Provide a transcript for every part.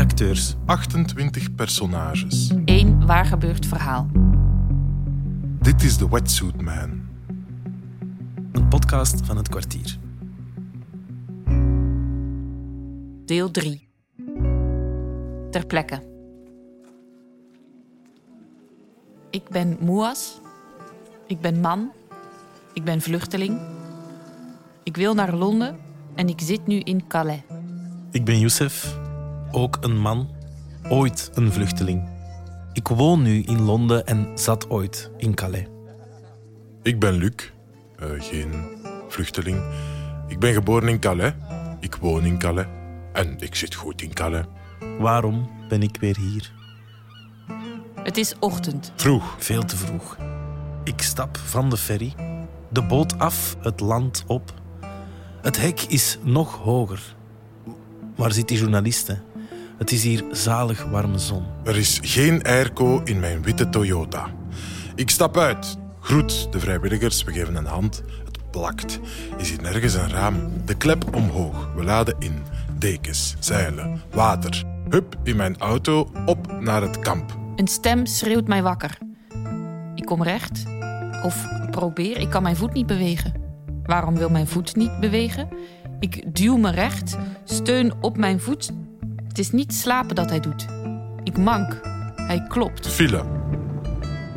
acteurs? 28 personages. Eén waar gebeurd verhaal. Dit is de Wetsuit Man. Een podcast van het kwartier. Deel 3. Ter plekke. Ik ben Moas. Ik ben man. Ik ben vluchteling. Ik wil naar Londen en ik zit nu in Calais. Ik ben Youssef, ook een man, ooit een vluchteling. Ik woon nu in Londen en zat ooit in Calais. Ik ben Luc, eh, geen vluchteling. Ik ben geboren in Calais. Ik woon in Calais. En ik zit goed in Calais. Waarom ben ik weer hier? Het is ochtend. Vroeg. Veel te vroeg. Ik stap van de ferry, de boot af, het land op. Het hek is nog hoger. Waar zitten journalisten? Het is hier zalig warme zon. Er is geen airco in mijn witte Toyota. Ik stap uit. Groet de vrijwilligers. We geven een hand. Het plakt. Is hier nergens een raam? De klep omhoog. We laden in. Dekens, zeilen, water. Hup in mijn auto. Op naar het kamp. Een stem schreeuwt mij wakker. Ik kom recht. Of probeer, ik kan mijn voet niet bewegen. Waarom wil mijn voet niet bewegen? Ik duw me recht, steun op mijn voet. Het is niet slapen dat hij doet. Ik mank. Hij klopt. File.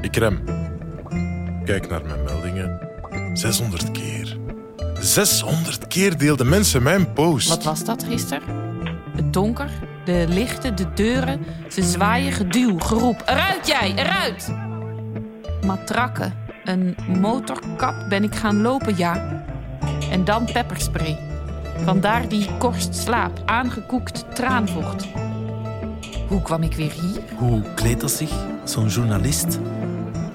Ik rem. Kijk naar mijn meldingen. 600 keer. 600 keer deelden mensen mijn post. Wat was dat gisteren? Het donker, de lichten, de deuren. Ze zwaaien geduw, geroep. Eruit jij, eruit! Matrakken. Een motorkap ben ik gaan lopen, ja. En dan pepperspray. Vandaar die korst slaap, aangekoekt traanvocht. Hoe kwam ik weer hier? Hoe kleedt dat zich? Zo'n journalist?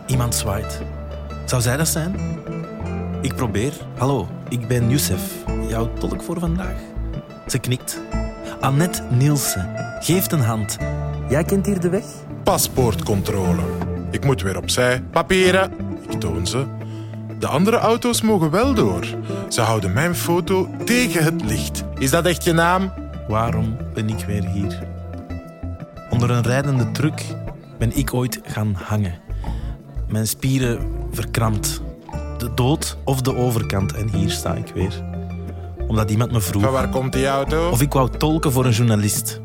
Iemand zwaait. Zou zij dat zijn? Ik probeer. Hallo, ik ben Youssef, jouw tolk voor vandaag. Ze knikt. Annette Nielsen, geeft een hand. Jij kent hier de weg? Paspoortcontrole. Ik moet weer opzij. Papieren. Ik toon ze. De andere auto's mogen wel door. Ze houden mijn foto tegen het licht. Is dat echt je naam? Waarom ben ik weer hier? Onder een rijdende truck ben ik ooit gaan hangen. Mijn spieren verkrampt. De dood of de overkant. En hier sta ik weer. Omdat iemand me vroeg... Van waar komt die auto? Of ik wou tolken voor een journalist.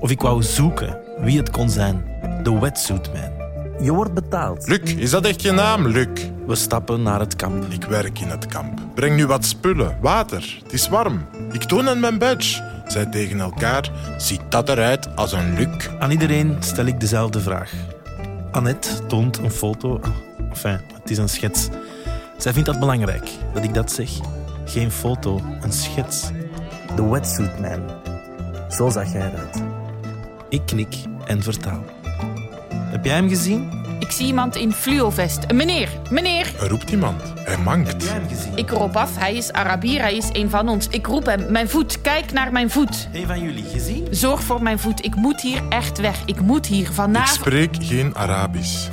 Of ik wou zoeken wie het kon zijn. De wetsuit man. Je wordt betaald. Luc, is dat echt je naam, Luc? We stappen naar het kamp. Ik werk in het kamp. Breng nu wat spullen, water. Het is warm. Ik toon aan mijn badge. Zij tegen elkaar. Ziet dat eruit als een Luc? Aan iedereen stel ik dezelfde vraag. Annette toont een foto. Ah, Enfin, het is een schets. Zij vindt dat belangrijk, dat ik dat zeg. Geen foto, een schets. De wetsuit man. Zo zag jij eruit. Ik knik en vertaal. Heb jij hem gezien? Ik zie iemand in fluovest. Een meneer, meneer! Er roept iemand. Hij mankt. hem gezien? Ik roep af, hij is Arabier, hij is een van ons. Ik roep hem, mijn voet, kijk naar mijn voet. Een van jullie gezien? Zorg voor mijn voet. Ik moet hier echt weg. Ik moet hier Ik vanavond. spreek geen Arabisch.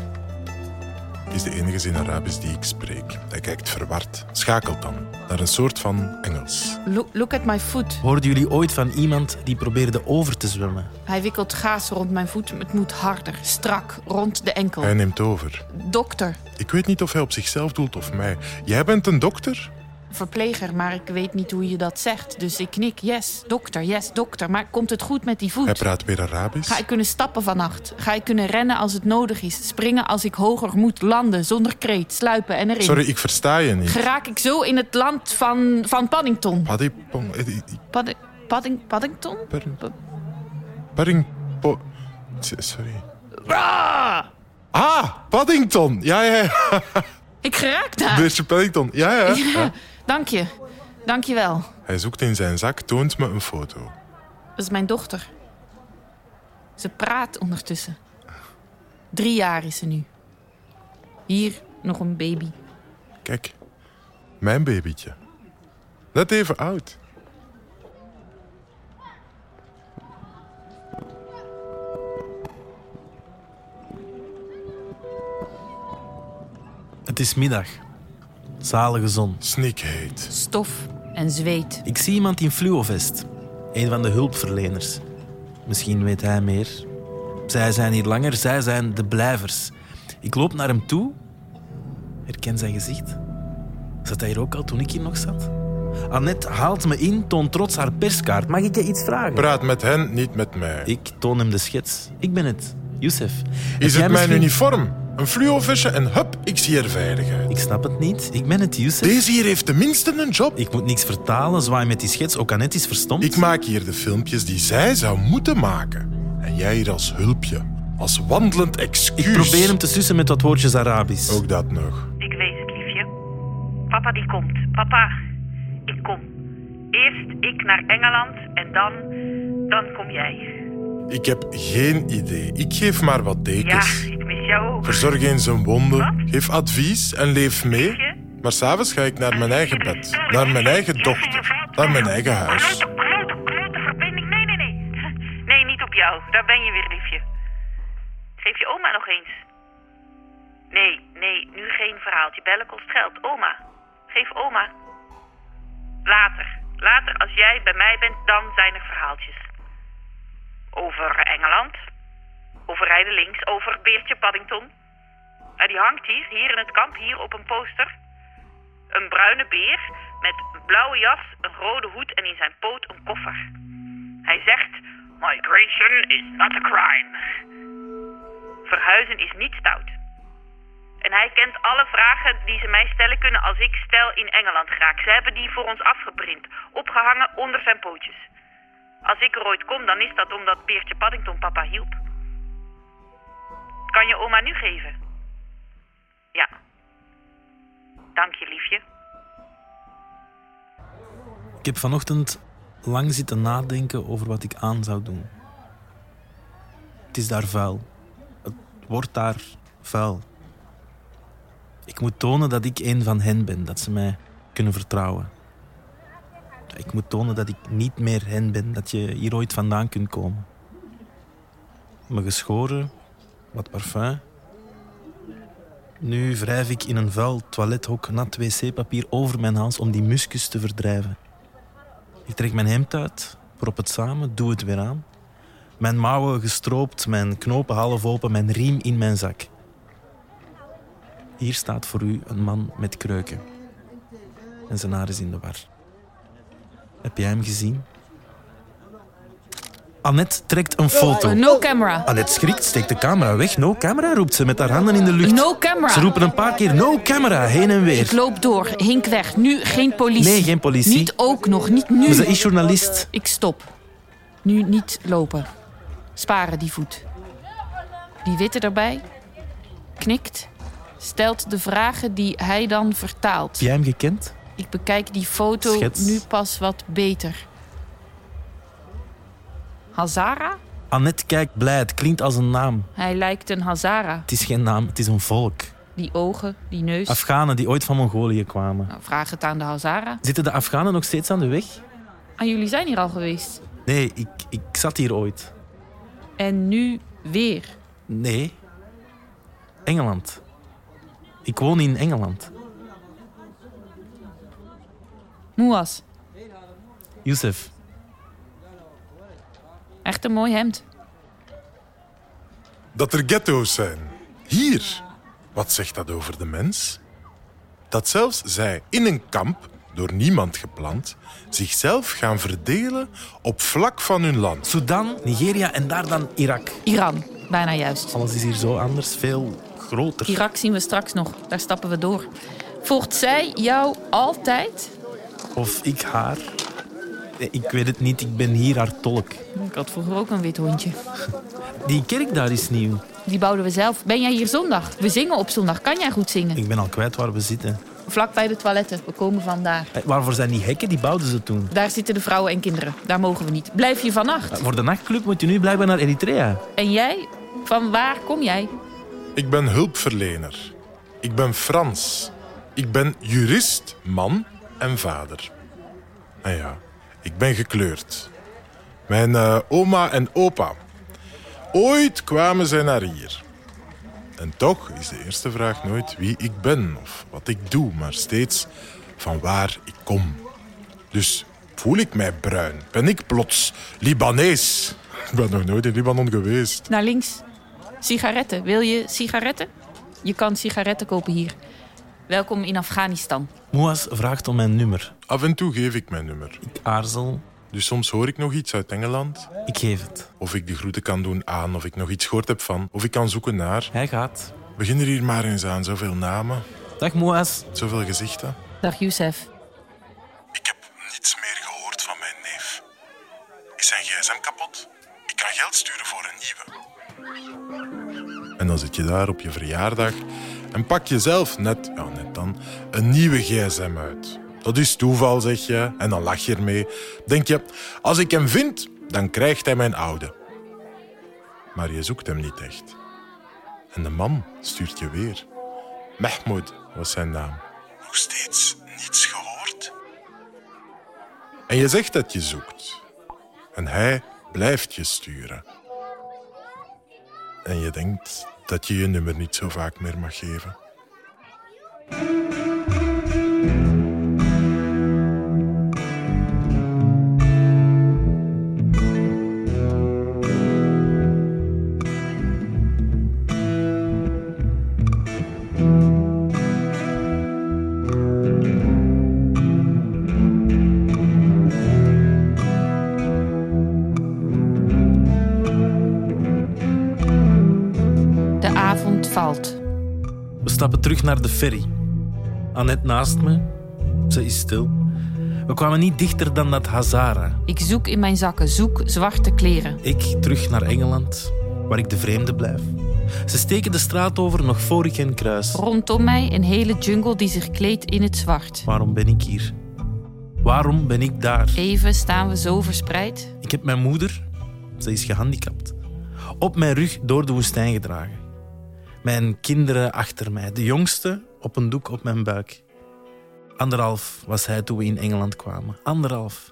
Het is de enige zin Arabisch die ik spreek. Hij kijkt verward. Schakelt dan naar een soort van Engels. Look, look at my foot. Hoorden jullie ooit van iemand die probeerde over te zwemmen? Hij wikkelt gaas rond mijn voet. Het moet harder, strak, rond de enkel. Hij neemt over. Dokter, Ik weet niet of hij op zichzelf doelt of mij. Jij bent een dokter? verpleger, maar ik weet niet hoe je dat zegt. Dus ik knik, yes, dokter, yes, dokter. Maar komt het goed met die Hij voet? praat weer Arabisch. Ga ik kunnen stappen vannacht? Ga ik kunnen rennen als het nodig is? Springen als ik hoger moet? Landen zonder kreet, sluipen en erin? Sorry, ik versta je niet. Geraak ik zo in het land van, van Paddington? Paddy... pong- eh, eh, Padding, Padding, Paddington? Padding- Pa- Padding... po- S- Sorry. Ah, Paddington. Ja, ja, ja. Ik geraak daar. Beertje Paddington. Ja, Ah. ja. ja. Dank je. Dank je wel. Hij zoekt in zijn zak, toont me een foto. Dat is mijn dochter. Ze praat ondertussen. Drie jaar is ze nu. Hier nog een baby. Kijk, mijn babytje. Net even oud. Het is middag. Zalige zon. Sneakhead. Stof en zweet. Ik zie iemand in fluovest. Een van de hulpverleners. Misschien weet hij meer. Zij zijn hier langer, zij zijn de blijvers. Ik loop naar hem toe, herken zijn gezicht. Zat hij hier ook al toen ik hier nog zat? Annette haalt me in, toont trots haar perskaart. Mag ik je iets vragen? Praat met hen, niet met mij. ik toon hem de schets. Ik ben het, Youssef. Heb Is jij het mijn misschien- uniform? Een fluovisje en hup, ik zie er veilig uit. Ik snap het niet. Ik ben het, Youssef. Deze hier heeft tenminste een job. Ik moet niks vertalen, zwaai met die schets. Ook Annette is verstomd. Ik maak hier de filmpjes die zij zou moeten maken. En jij hier als hulpje. Als wandelend excuus. Ik probeer hem te sussen met wat woordjes Arabisch. Ook dat nog. Ik weet het, liefje. Papa die komt. Papa, ik kom. Eerst ik naar Engeland en dan, dan kom jij. Ik heb geen idee. Ik geef maar wat Ja, dekens. ik mis jou ook. Verzorg eens een wonden. Wat? Geef advies en leef mee. Maar s'avonds ga ik naar mijn eigen bed. Naar mijn eigen dochter. Naar mijn eigen huis. Grote, grote, grote verbinding. Nee, nee, nee. Nee, niet op jou. Daar ben je weer, liefje. Geef je oma nog eens. Nee, nee, nu geen verhaaltje. Bellen kost geld. Oma. Geef oma. Later. Later, als jij bij mij bent, dan zijn er verhaaltjes. Over Engeland. Over Rijden Links. Over Beertje Paddington. En die hangt hier, hier in het kamp, hier op een poster. Een bruine beer met een blauwe jas, een rode hoed en in zijn poot een koffer. Hij zegt: Migration is not a crime. Verhuizen is niet stout. En hij kent alle vragen die ze mij stellen kunnen als ik stel in Engeland raak. Ze hebben die voor ons afgeprint, opgehangen onder zijn pootjes. Als ik er ooit kom, dan is dat omdat Beertje Paddington papa hielp. Kan je oma nu geven? Ja. Dank je, liefje. Ik heb vanochtend lang zitten nadenken over wat ik aan zou doen. Het is daar vuil. Het wordt daar vuil. Ik moet tonen dat ik een van hen ben, dat ze mij kunnen vertrouwen. Ik moet tonen dat ik niet meer hen ben, dat je hier ooit vandaan kunt komen. Me geschoren, wat parfum. Nu wrijf ik in een vuil toilethok nat wc-papier over mijn hals om die muskus te verdrijven. Ik trek mijn hemd uit, prop het samen, doe het weer aan. Mijn mouwen gestroopt, mijn knopen half open, mijn riem in mijn zak. Hier staat voor u een man met kreuken. En zijn haar is in de war. Heb jij hem gezien? Annette trekt een foto. Eh, no camera. Annette schrikt, steekt de camera weg. No camera, roept ze met haar handen in de lucht. No camera. Ze roepen een paar keer no camera, heen en Ik weer. loop door. Hink weg. Nu geen politie. Nee, geen politie. Niet ook nog. Niet nu. Maar ze is journalist. Ik stop. Nu niet lopen. Sparen die voet. Die witte erbij knikt, stelt de vragen die hij dan vertaalt. Heb jij hem gekend? Ik bekijk die foto Schets. nu pas wat beter. Hazara? Annette kijkt blij, het klinkt als een naam. Hij lijkt een Hazara. Het is geen naam, het is een volk. Die ogen, die neus. Afghanen die ooit van Mongolië kwamen. Nou, vraag het aan de Hazara. Zitten de Afghanen nog steeds aan de weg? Ah, jullie zijn hier al geweest. Nee, ik, ik zat hier ooit. En nu weer. Nee. Engeland. Ik woon in Engeland. Moas, Youssef, echt een mooi hemd. Dat er ghetto's zijn. Hier. Wat zegt dat over de mens? Dat zelfs zij in een kamp, door niemand gepland, zichzelf gaan verdelen op vlak van hun land. Sudan, Nigeria en daar dan Irak. Iran, bijna juist. Alles is hier zo anders, veel groter. Irak zien we straks nog. Daar stappen we door. Volgt zij jou altijd? Of ik haar. Nee, Ik weet het niet, ik ben hier haar tolk. Ik had vroeger ook een wit hondje. Die kerk daar is nieuw. Die bouwden we zelf. Ben jij hier zondag? We zingen op zondag. Kan jij goed zingen? Ik ben al kwijt waar we zitten. Vlak bij de toiletten. We komen vandaar. Eh, Waarvoor zijn die hekken? Die bouwden ze toen. Daar zitten de vrouwen en kinderen. Daar mogen we niet. Blijf je vannacht. Voor de nachtclub moet je nu blijkbaar naar Eritrea. En jij? Van waar kom jij? Ik ben hulpverlener. Ik ben Frans. Ik ben jurist, man en vader. Nou ja, ik ben gekleurd. Mijn eh, oma en opa. Ooit kwamen zij naar hier. En toch is de eerste vraag nooit wie ik ben of wat ik doe, maar steeds van waar ik kom. Dus voel ik mij bruin? Ben ik plots Libanees? Ik ben nog nooit in Libanon geweest. Naar links. Sigaretten. Wil je sigaretten? Je kan sigaretten kopen hier. Welkom in Afghanistan. Moas vraagt om mijn nummer. Af en toe geef ik mijn nummer. Ik aarzel. Dus soms hoor ik nog iets uit Engeland. Ik geef het. Of ik de groeten kan doen aan, of ik nog iets gehoord heb van, of ik kan zoeken naar. Hij gaat. Begin er hier maar eens aan. Zoveel namen, Dag Moas. zoveel gezichten. Dag Youssef. Ik heb niets meer gehoord van mijn neef. Is zijn gsm kapot? Ik kan geld sturen voor een nieuwe. En dan zit je daar op je verjaardag en pak je zelf net, ja net dan, een nieuwe gsm uit. Dat is toeval, zeg je, en dan lach je ermee. Denk je, als ik hem vind, dan krijgt hij mijn oude. Maar je zoekt hem niet echt. En de man stuurt je weer. Mahmoud was zijn naam. Nog steeds niets gehoord? En je zegt dat je zoekt. En hij blijft je sturen. En je denkt dat je je nummer niet zo vaak meer mag geven. De avond valt. We stappen terug naar de ferry. Annette naast me. Ze is stil. We kwamen niet dichter dan dat Hazara. Ik zoek in mijn zakken. Zoek zwarte kleren. Ik terug naar Engeland, waar ik de vreemde blijf. Ze steken de straat over nog voor ik hen kruis. Rondom mij een hele jungle die zich kleedt in het zwart. Waarom ben ik hier? Waarom ben ik daar? Even staan we zo verspreid. Ik heb mijn moeder, ze is gehandicapt, op mijn rug door de woestijn gedragen. Mijn kinderen achter mij, de jongste op een doek op mijn buik. Anderhalf was hij toen we in Engeland kwamen. Anderhalf.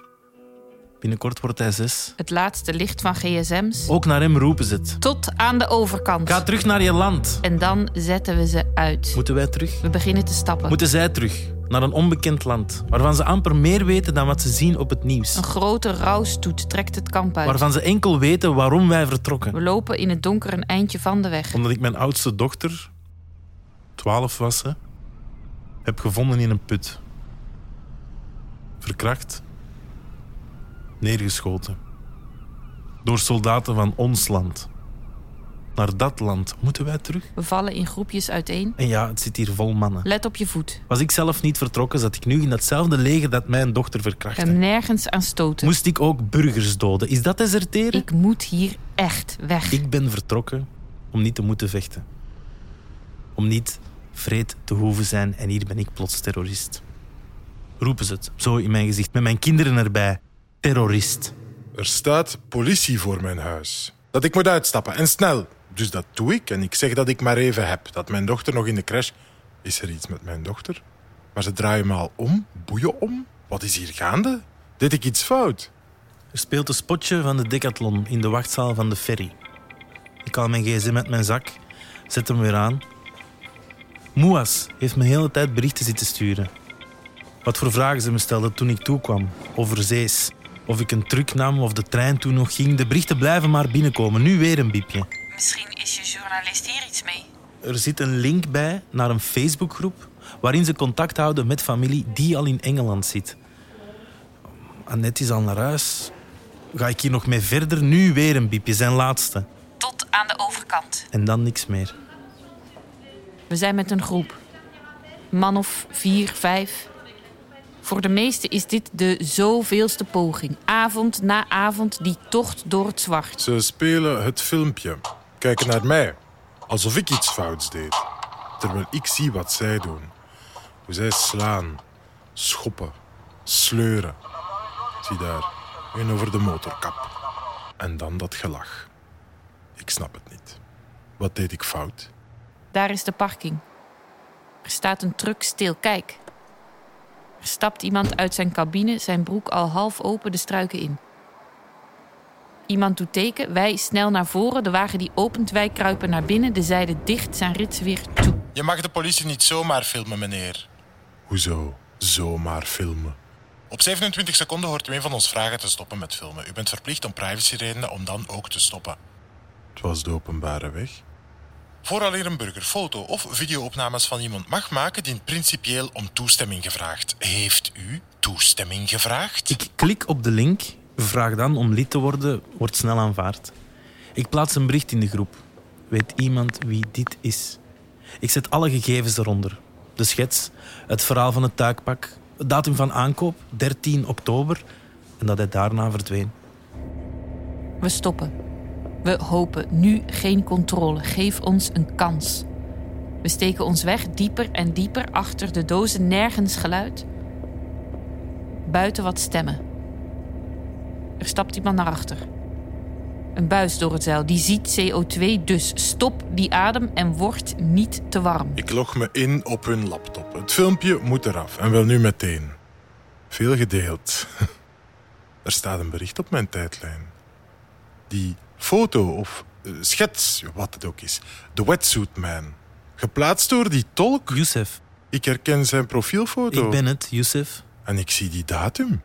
Binnenkort wordt hij zes. Het laatste licht van gsm's. Ook naar hem roepen ze het. Tot aan de overkant. Ga terug naar je land. En dan zetten we ze uit. Moeten wij terug? We beginnen te stappen. Moeten zij terug naar een onbekend land, waarvan ze amper meer weten dan wat ze zien op het nieuws. Een grote rouwstoet trekt het kamp uit. Waarvan ze enkel weten waarom wij vertrokken. We lopen in het donker een eindje van de weg. Omdat ik mijn oudste dochter, 12 was ze, heb gevonden in een put. Verkracht. Neergeschoten. Door soldaten van ons land. Naar dat land moeten wij terug. We vallen in groepjes uiteen. En ja, het zit hier vol mannen. Let op je voet. Was ik zelf niet vertrokken, zat ik nu in datzelfde leger dat mijn dochter verkrachtte. Hem nergens aan stoten. Moest ik ook burgers doden? Is dat deserteren? Ik moet hier echt weg. Ik ben vertrokken om niet te moeten vechten. Om niet vreed te hoeven zijn en hier ben ik plots terrorist. Roepen ze het, zo in mijn gezicht, met mijn kinderen erbij. Terrorist. Er staat politie voor mijn huis. Dat ik moet uitstappen en snel. Dus dat doe ik en ik zeg dat ik maar even heb. Dat mijn dochter nog in de crash. Is er iets met mijn dochter? Maar ze draaien me al om, boeien om. Wat is hier gaande? Deed ik iets fout? Er speelt een spotje van de decathlon in de wachtzaal van de ferry. Ik haal mijn gsm uit mijn zak, zet hem weer aan. Moas heeft me de hele tijd berichten zitten sturen. Wat voor vragen ze me stelden toen ik toekwam, over zees. Of ik een truck nam, of de trein toen nog ging. De berichten blijven maar binnenkomen, nu weer een biepje. Misschien is je journalist hier iets mee. Er zit een link bij naar een Facebookgroep waarin ze contact houden met familie die al in Engeland zit. Annette is al naar huis. Ga ik hier nog mee verder? Nu weer een biepje, zijn laatste. Tot aan de overkant. En dan niks meer. We zijn met een groep. Man of vier, vijf. Voor de meesten is dit de zoveelste poging. Avond na avond die tocht door het zwart. Ze spelen het filmpje, kijken naar mij, alsof ik iets fouts deed. Terwijl ik zie wat zij doen. Hoe zij slaan, schoppen, sleuren. Zie daar, hun over de motorkap. En dan dat gelach. Ik snap het niet. Wat deed ik fout? Daar is de parking. Er staat een truck stil. Kijk. Er stapt iemand uit zijn cabine, zijn broek al half open de struiken in. Iemand doet teken, wij snel naar voren, de wagen die opent, wij kruipen naar binnen, de zijde dicht, zijn rits weer toe. Je mag de politie niet zomaar filmen, meneer. Hoezo? Zomaar filmen. Op 27 seconden hoort u een van ons vragen te stoppen met filmen. U bent verplicht om privacyredenen om dan ook te stoppen. Het was de openbare weg. Vooraleer een burger foto of videoopnames van iemand mag maken, dient principieel om toestemming gevraagd. Heeft u toestemming gevraagd? Ik klik op de link, vraag dan om lid te worden, wordt snel aanvaard. Ik plaats een bericht in de groep. Weet iemand wie dit is? Ik zet alle gegevens eronder. De schets, het verhaal van het tuikpak, het datum van aankoop, 13 oktober, en dat hij daarna verdween. We stoppen. We hopen nu geen controle. Geef ons een kans. We steken ons weg dieper en dieper achter de dozen, nergens geluid. Buiten wat stemmen. Er stapt iemand naar achter. Een buis door het zeil, die ziet CO2, dus stop die adem en word niet te warm. Ik log me in op hun laptop. Het filmpje moet eraf en wel nu meteen. Veel gedeeld. Er staat een bericht op mijn tijdlijn. Die foto of eh, schets, wat het ook is. De Wetsuit Man. Geplaatst door die tolk. Youssef, Ik herken zijn profielfoto. ik ben het, Youssef. En ik zie die datum.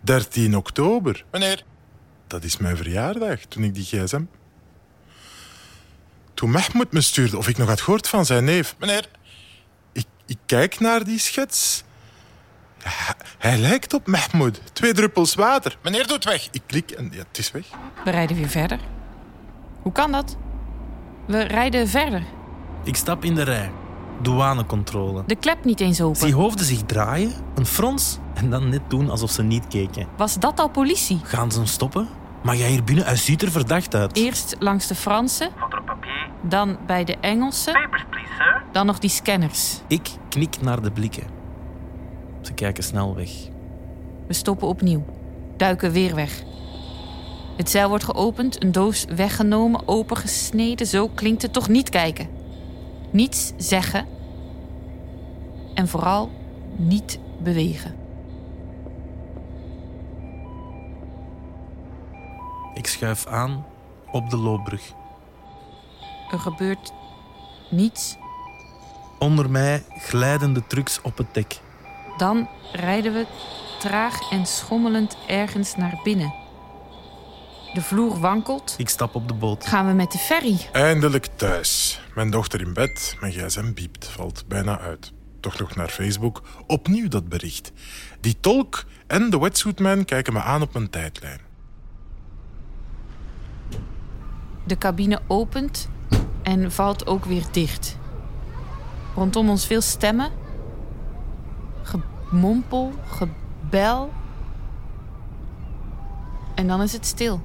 13 oktober. Meneer. Dat is mijn verjaardag, toen ik die gsm... Toen Mehmet me stuurde of ik nog had gehoord van zijn neef. Meneer. Ik, ik kijk naar die schets. Ja, hij lijkt op Mehmoed. Twee druppels water. Meneer doet weg. Ik klik en ja, het is weg. We rijden weer verder. Hoe kan dat? We rijden verder. Ik stap in de rij. Douanecontrole. De klep niet eens open. Zie hoofden zich draaien, een frons en dan net doen alsof ze niet keken. Was dat al politie? Gaan ze hem stoppen? Maar jij hier binnen, hij ziet er verdacht uit. Eerst langs de Fransen, Votre papier. dan bij de Engelsen, Papers, please, sir. dan nog die scanners. Ik knik naar de blikken. Ze kijken snel weg. We stoppen opnieuw. Duiken weer weg. Het zeil wordt geopend, een doos weggenomen, opengesneden. Zo klinkt het toch niet kijken. Niets zeggen. En vooral niet bewegen. Ik schuif aan op de loopbrug. Er gebeurt niets. Onder mij glijden de trucks op het dek. Dan rijden we traag en schommelend ergens naar binnen. De vloer wankelt. Ik stap op de boot. Gaan we met de ferry? Eindelijk thuis. Mijn dochter in bed, mijn gsm biept, valt bijna uit. Toch nog naar Facebook, opnieuw dat bericht. Die tolk en de wetsuitman kijken me aan op mijn tijdlijn. De cabine opent en valt ook weer dicht. Rondom ons veel stemmen. Gemompel, gebel. En dan is het stil.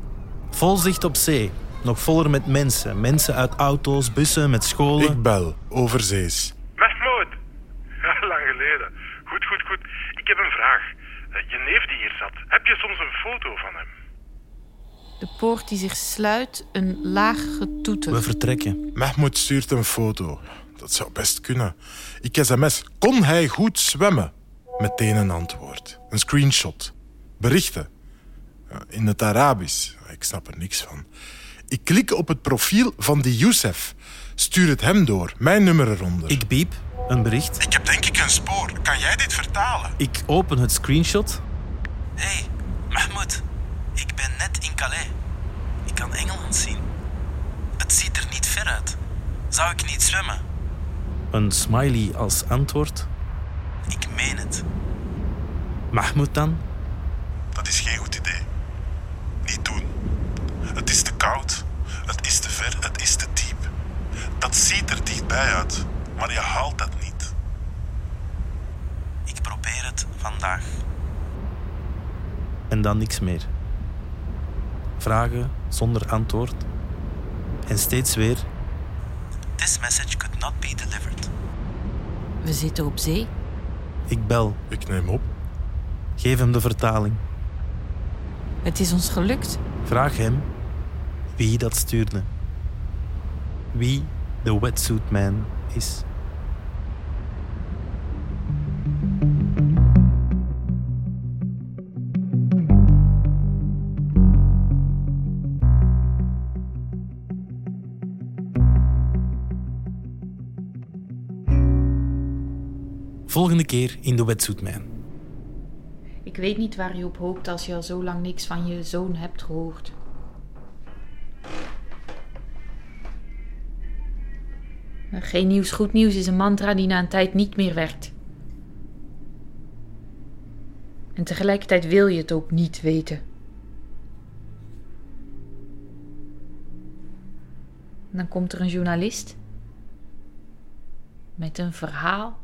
Vol zicht op zee. Nog voller met mensen. Mensen uit auto's, bussen, met scholen. Ik bel, overzees. Westmoed. Ja, lang geleden. Goed, goed, goed. Ik heb een vraag. Eh, Je neef die hier zat, heb je soms een foto van hem? De poort die zich sluit, een laag We getoeter. vertrekken. Mahmoud stuurt een foto. Dat zou best kunnen. Ik sms, kon hij goed zwemmen? Meteen een antwoord. Een screenshot. Berichten. Ja, In het Arabisch. Ik snap er niks van. Ik klik op het profiel van die Youssef. Stuur het hem door. Mijn nummer eronder. Ik biep, een bericht. Ik heb denk ik een spoor. Kan jij dit vertalen? Ik open het screenshot. Hey, Mahmoud. Ik ben net in Calais. Ik kan Engeland zien. Het ziet er niet ver uit. Zou ik niet zwemmen? Een smiley als antwoord. Ik meen het. Mahmoud dan? Dat is geen goed idee. Niet doen. Het is te koud. Het is te ver. Het is te diep. Dat ziet er dichtbij uit, maar je haalt dat niet. Ik probeer het vandaag. En dan niks meer. Vragen zonder antwoord. En steeds weer This message could not be delivered. We zitten op zee. Ik bel, Ik neem op. geef hem de vertaling. Het is ons gelukt. Vraag hem wie dat stuurde. Wie de wetsuit man is. Volgende keer in de wetsuit man. Ik weet niet waar je op hoopt als je al zo lang niks van je zoon hebt gehoord. Maar Geen nieuws, goed nieuws is een mantra die na een tijd niet meer werkt. En tegelijkertijd wil je het ook niet weten. En dan komt er een journalist met een verhaal